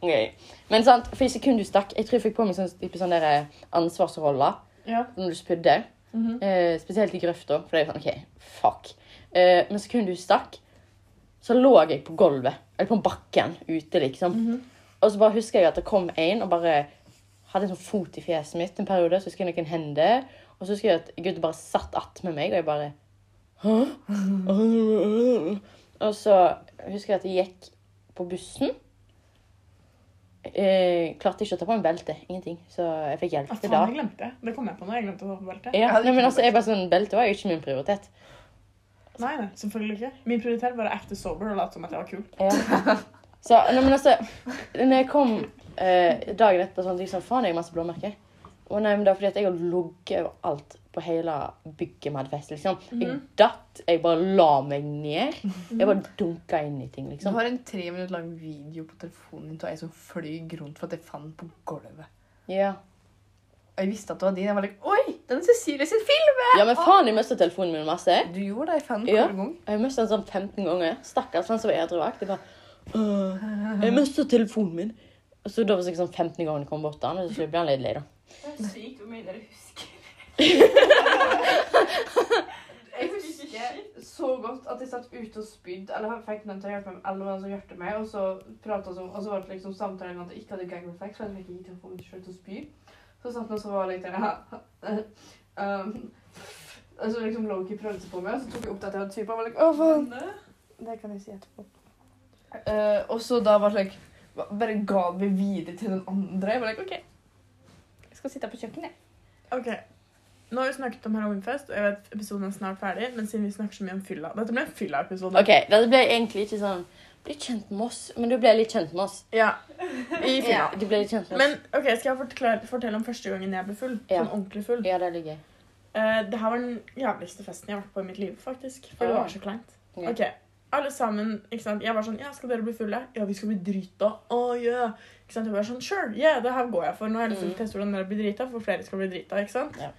[SPEAKER 1] Ok. Men sant, for i sekundet du stakk Jeg tror jeg fikk på meg sånn type sånn der ansvarsroller
[SPEAKER 2] Ja.
[SPEAKER 1] når du spydde.
[SPEAKER 2] Mhm.
[SPEAKER 1] eh, spesielt i grøfta. For det er sånn OK, fuck. Eh, men sekundet du stakk, så lå jeg på gulvet. Eller på bakken ute, liksom. Og så bare husker jeg at det kom en og bare hadde en sånn fot i fjeset mitt en periode. Så husker jeg noen hender. Og så husker jeg at gutten bare satt attmed meg, og jeg bare Hæ? Og så husker jeg at jeg gikk på bussen. Eh, klarte ikke å ta på meg belte. Ingenting. Så jeg fikk hjelp
[SPEAKER 2] Ja,
[SPEAKER 1] til det.
[SPEAKER 2] faen, jeg glemte. Det kom jeg på nå. Jeg glemte å ta på beltet.
[SPEAKER 1] Ja,
[SPEAKER 3] hadde
[SPEAKER 1] nei, men
[SPEAKER 3] ikke noe
[SPEAKER 1] altså, jeg er bare sånn, Belte var jo ikke min prioritet.
[SPEAKER 2] Nei, nei, selvfølgelig ikke. Min prioritet var å acte sober og late som at jeg var kul.
[SPEAKER 1] Ja. Så, nei, men altså, når jeg kom eh, dagen etterpå, sånn, liksom, faen, jeg har masse blåmerker. Og nei, men det var fordi at jeg har ligget over alt på hele bygget vi hadde fest, liksom. Jeg datt, jeg bare la meg ned. Jeg bare dunket inn i ting,
[SPEAKER 3] Du
[SPEAKER 1] liksom.
[SPEAKER 3] har en tre minutter lang video på telefonen din av ei som fløy rundt for at jeg fant på gulvet.
[SPEAKER 1] Ja,
[SPEAKER 3] Og jeg visste at det var din. Jeg var like, Oi, den er Cecilie sin film!
[SPEAKER 1] ja men faen, jeg møste telefonen min masse.
[SPEAKER 3] Du gjorde det. Jeg fant
[SPEAKER 1] Ja.
[SPEAKER 3] den gang.
[SPEAKER 1] Jeg møste den sånn 15 ganger. Stakkars, han som var edruakt. Jeg bare, «Åh, jeg møste telefonen min. Og så da var det sikkert sånn 15 ganger han kom bort til han, og så ble han litt lei da.
[SPEAKER 4] Det er sykt hvor mye dere husker.
[SPEAKER 3] Jeg husker så godt at jeg satt ute og spydde, eller fikk noen til å hjelpe meg, eller noen som hjelpte meg, og så pratet vi om, og så var det liksom samtalen at jeg ikke hadde gag reflex, for jeg fikk ikke til å få meg selv til å spy. Så satt han og så var litt der, um, og så liksom Loki prøvde seg på meg, og så tok jeg opp det at jeg hadde typen, og var like, å faen, det kan jeg si etterpå. Eh, og så da var det like, ba- bare ga han meg videre til den andre, jeg var like, ok, jeg skal sitte her på kjøkkenet.
[SPEAKER 2] Ok, Nå har vi snakket om halloweenfest, og jeg vet episoden er snart ferdig. Men siden vi snakker så mye om fylla Dette ble en fylla-episode.
[SPEAKER 1] Ok, dette ble egentlig ikke sånn Bli kjent med oss, men du ble litt kjent med oss.
[SPEAKER 2] Ja, i fylla.
[SPEAKER 1] Du ble litt kjent med oss.
[SPEAKER 2] Men ok, skal jeg forklare, fortelle om første gangen jeg ble full?
[SPEAKER 1] Ja.
[SPEAKER 2] Sånn ordentlig full.
[SPEAKER 1] Ja, det er litt gøy.
[SPEAKER 2] Eh, det her var den jævligste festen jeg har vært på i mitt liv, faktisk. For det
[SPEAKER 1] Ja.
[SPEAKER 2] var så kleint.
[SPEAKER 1] Ah. Ja.
[SPEAKER 2] Ok, alle sammen, ikke sant? Jeg var sånn, ja, skal dere bli fulle? Ja, vi skal bli drita. Åh, ja. Ikke sant? Jeg var sånn, sure, yeah, det her går jeg for. Nå har jeg liksom
[SPEAKER 1] Mhm.
[SPEAKER 2] testet hvordan dere blir drita, for flere skal bli drita, ikke sant?
[SPEAKER 1] Ja.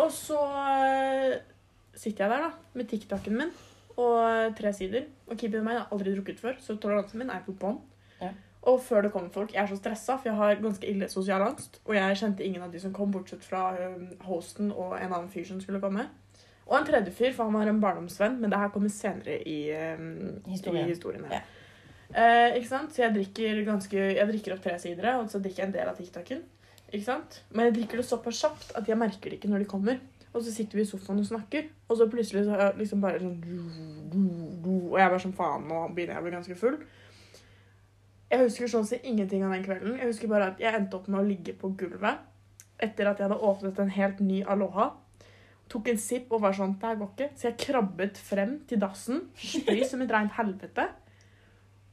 [SPEAKER 2] Og så eh, sitter jeg der da, med TikToken min, og tre sider. Og keepet meg, jeg har aldri drukket før, så toleransen min er på bånd.
[SPEAKER 1] Ja.
[SPEAKER 2] Og før det kommer folk, jeg er så stresset, for jeg har ganske ille sosial angst, og jeg kjente ingen av de som kom, bortsett fra eh, hosten og en annen fyr som skulle komme. Og en tredje fyr, for han var en barndomsvenn, men det her kommer senere i, um,
[SPEAKER 1] Historien.
[SPEAKER 2] i historien. her.
[SPEAKER 1] Ja.
[SPEAKER 2] Eh, ikke sant? Så jeg drikker, ganske, jeg drikker opp tre sidere, og så drikker jeg en del av TikToken. Ikke sant? Men jeg drikker det såpass kjapt at jeg merker det ikke når de kommer. Og så sitter vi i sofaen og snakker, og så plutselig så er jeg liksom bare sånn Og jeg er bare sånn faen, nå begynner jeg å bli ganske full. Jeg husker sånn sett ingenting av den kvelden. Jeg husker bare at jeg endte opp med å ligge på gulvet etter at jeg hadde åpnet en helt ny Aloha tok en sipp og var sånn, det her går ikke. Så jeg krabbet frem til dassen, spy som et rent helvete.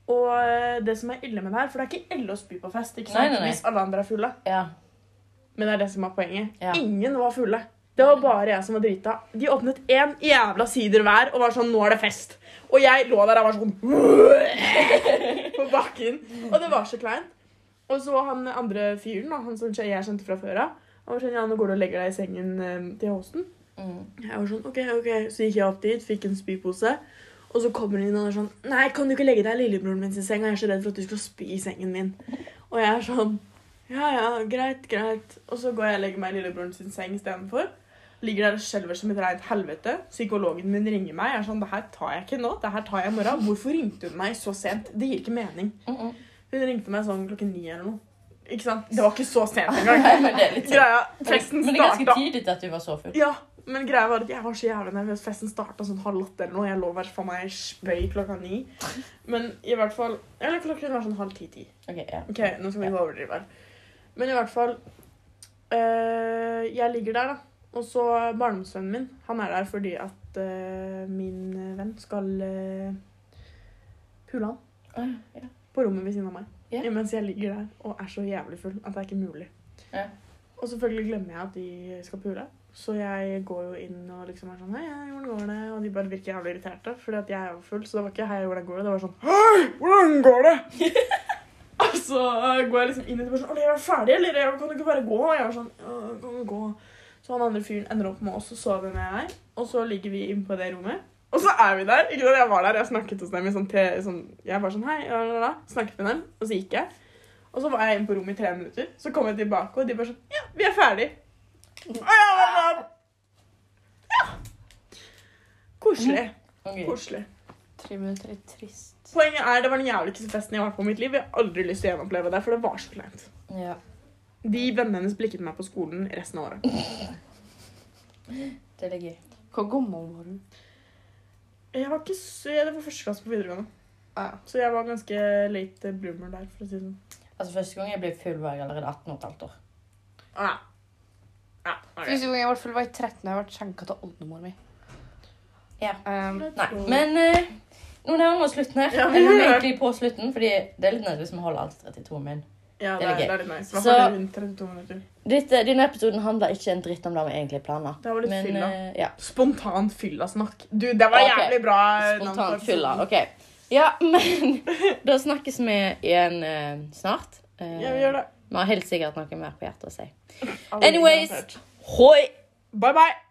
[SPEAKER 2] Og eh, det som er ille med det her, for det er ikke ille å spy på fest, ikke sant?
[SPEAKER 1] Nei, nei, nei.
[SPEAKER 2] Hvis alle andre er fulle.
[SPEAKER 1] Ja.
[SPEAKER 2] Men det er det som er poenget.
[SPEAKER 1] Ja.
[SPEAKER 2] Ingen var fulle. Det var bare jeg som var drita. De åpnet én jævla sider hver og var sånn 'Nå er det fest'. Og jeg lå der og var sånn På bakken. Og det var så kleint. Og så han andre fyren, da, han som jeg kjente fra før av, han var sånn 'Ja, nå går du og legger deg i sengen eh, til hosten'.
[SPEAKER 1] Mm.
[SPEAKER 2] Jeg var sånn, ok, ok. Så gikk jeg opp dit, fikk en spypose. Og så kommer hun inn og er sånn Nei, kan du ikke legge deg i lillebroren min sin seng? Jeg er så redd for at du skal spy i sengen min. Og jeg er sånn Ja, ja, greit, greit. Og så går jeg og legger meg i lillebroren sin seng istedenfor. Ligger der og skjelver som et reint helvete. Psykologen min ringer meg. Jeg er sånn Det her tar jeg ikke nå. Det her tar jeg i morgen. Hvorfor ringte hun meg så sent? Det gir ikke mening.
[SPEAKER 1] Mm -mm.
[SPEAKER 2] Hun ringte meg sånn klokken ni eller noe. Ikke sant? Det var ikke så sent engang.
[SPEAKER 1] Nei, men det er litt sånn.
[SPEAKER 2] Greia, festen
[SPEAKER 1] Men det er ganske
[SPEAKER 2] starta
[SPEAKER 1] tidlig at du var så full.
[SPEAKER 2] ja, men greia var at jeg var så jævlig nervøs. Festen starta sånn halv åtte eller noe. Jeg lå der for meg spøy klokka ni. Men i hvert fall Eller klokken var sånn halv ti-ti.
[SPEAKER 1] Ok, ja.
[SPEAKER 2] Ok, nå skal vi ikke overdrive her. Men i hvert fall øh, Jeg ligger der, da. Og så eh, barndomsvennen min. Han er der fordi at øh, min venn skal øh, pule han
[SPEAKER 1] Ah, ja.
[SPEAKER 2] på rommet ved siden av meg.
[SPEAKER 1] Ja.
[SPEAKER 2] Mens jeg ligger der og er så jævlig full at det er ikke mulig.
[SPEAKER 1] Ja.
[SPEAKER 2] Og selvfølgelig glemmer jeg at de skal pule. Så jeg går jo inn og liksom er sånn Hei, hei, hvordan går det? Og de bare virker jævlig irriterte, fordi at jeg er jo full. Så det var ikke hei, hvordan går det? Det var sånn Hei, hvordan går det? og så går jeg liksom inn og de bare sånn Å, jeg er ferdig, eller? Jeg kan du ikke bare gå? Og jeg var sånn «Ja, Kan du gå? Så han andre fyren ender opp med oss og sover med jeg. Og så ligger vi inne på det rommet. Og så er vi der. ikke sant? Jeg var der, jeg snakket hos dem i sånn, te, sånn Jeg var sånn hei, la, la, la. Snakket med dem, og så gikk jeg. Og så var jeg inne på rommet i tre minutter. Så kom jeg tilbake, og de bare sånn Ja, vi er ferdig. Og jeg var sånn Ja. Koselig.
[SPEAKER 1] Ok.
[SPEAKER 2] Koselig.
[SPEAKER 3] Tre minutter er trist.
[SPEAKER 2] Poenget er, det var den jævligste festen jeg har vært på i mitt liv. Jeg har aldri lyst til å gjenoppleve det, for det var så kleint.
[SPEAKER 1] Ja.
[SPEAKER 2] De vennene hennes blikket meg på skolen resten av året.
[SPEAKER 1] Det er litt gøy.
[SPEAKER 3] Hvor gammel var du?
[SPEAKER 2] Jeg var ikke så, Det var første klasse på videregående,
[SPEAKER 3] Ja.
[SPEAKER 2] så jeg var ganske late bloomer der. for å si det sånn.
[SPEAKER 1] Altså, første gang jeg ble full, var jeg allerede 18 og et halvt år.
[SPEAKER 2] Ja. Ja, Ah. ok.
[SPEAKER 3] Første gang jeg var full, var jeg 13. og Jeg ble skjenka til oldemor mi.
[SPEAKER 1] Ja.
[SPEAKER 3] Um,
[SPEAKER 1] Nei, men eh, nå nærmer vi oss slutten her.
[SPEAKER 2] Mm. Ja, vi
[SPEAKER 1] Eller vi er
[SPEAKER 2] gjør det.
[SPEAKER 1] egentlig på slutten, fordi det er litt nervøst å holde alt 32 min.
[SPEAKER 2] Ja,
[SPEAKER 1] det
[SPEAKER 2] det
[SPEAKER 1] er
[SPEAKER 2] er,
[SPEAKER 1] gøy.
[SPEAKER 2] det er litt nice. I hvert
[SPEAKER 1] Så-
[SPEAKER 2] fall rundt 32 minutter.
[SPEAKER 1] Dette, denne episoden handler ikke en dritt om det vi egentlig planla.
[SPEAKER 2] Det var litt
[SPEAKER 1] Men,
[SPEAKER 2] fylla.
[SPEAKER 1] eh, ja.
[SPEAKER 2] Spontan fyllasnakk. Du, det var
[SPEAKER 1] Ok.
[SPEAKER 2] jævlig bra. eh, navn på
[SPEAKER 1] Spontan
[SPEAKER 2] episoden.
[SPEAKER 1] fylla. OK. Ja, men da snakkes vi igjen eh, snart. Eh,
[SPEAKER 2] Ja, vi gjør det.
[SPEAKER 1] vi har helt sikkert noe mer på hjertet å si.
[SPEAKER 2] Alle
[SPEAKER 1] Anyways.
[SPEAKER 2] er garantert.
[SPEAKER 1] Hoi!
[SPEAKER 2] Bye, bye.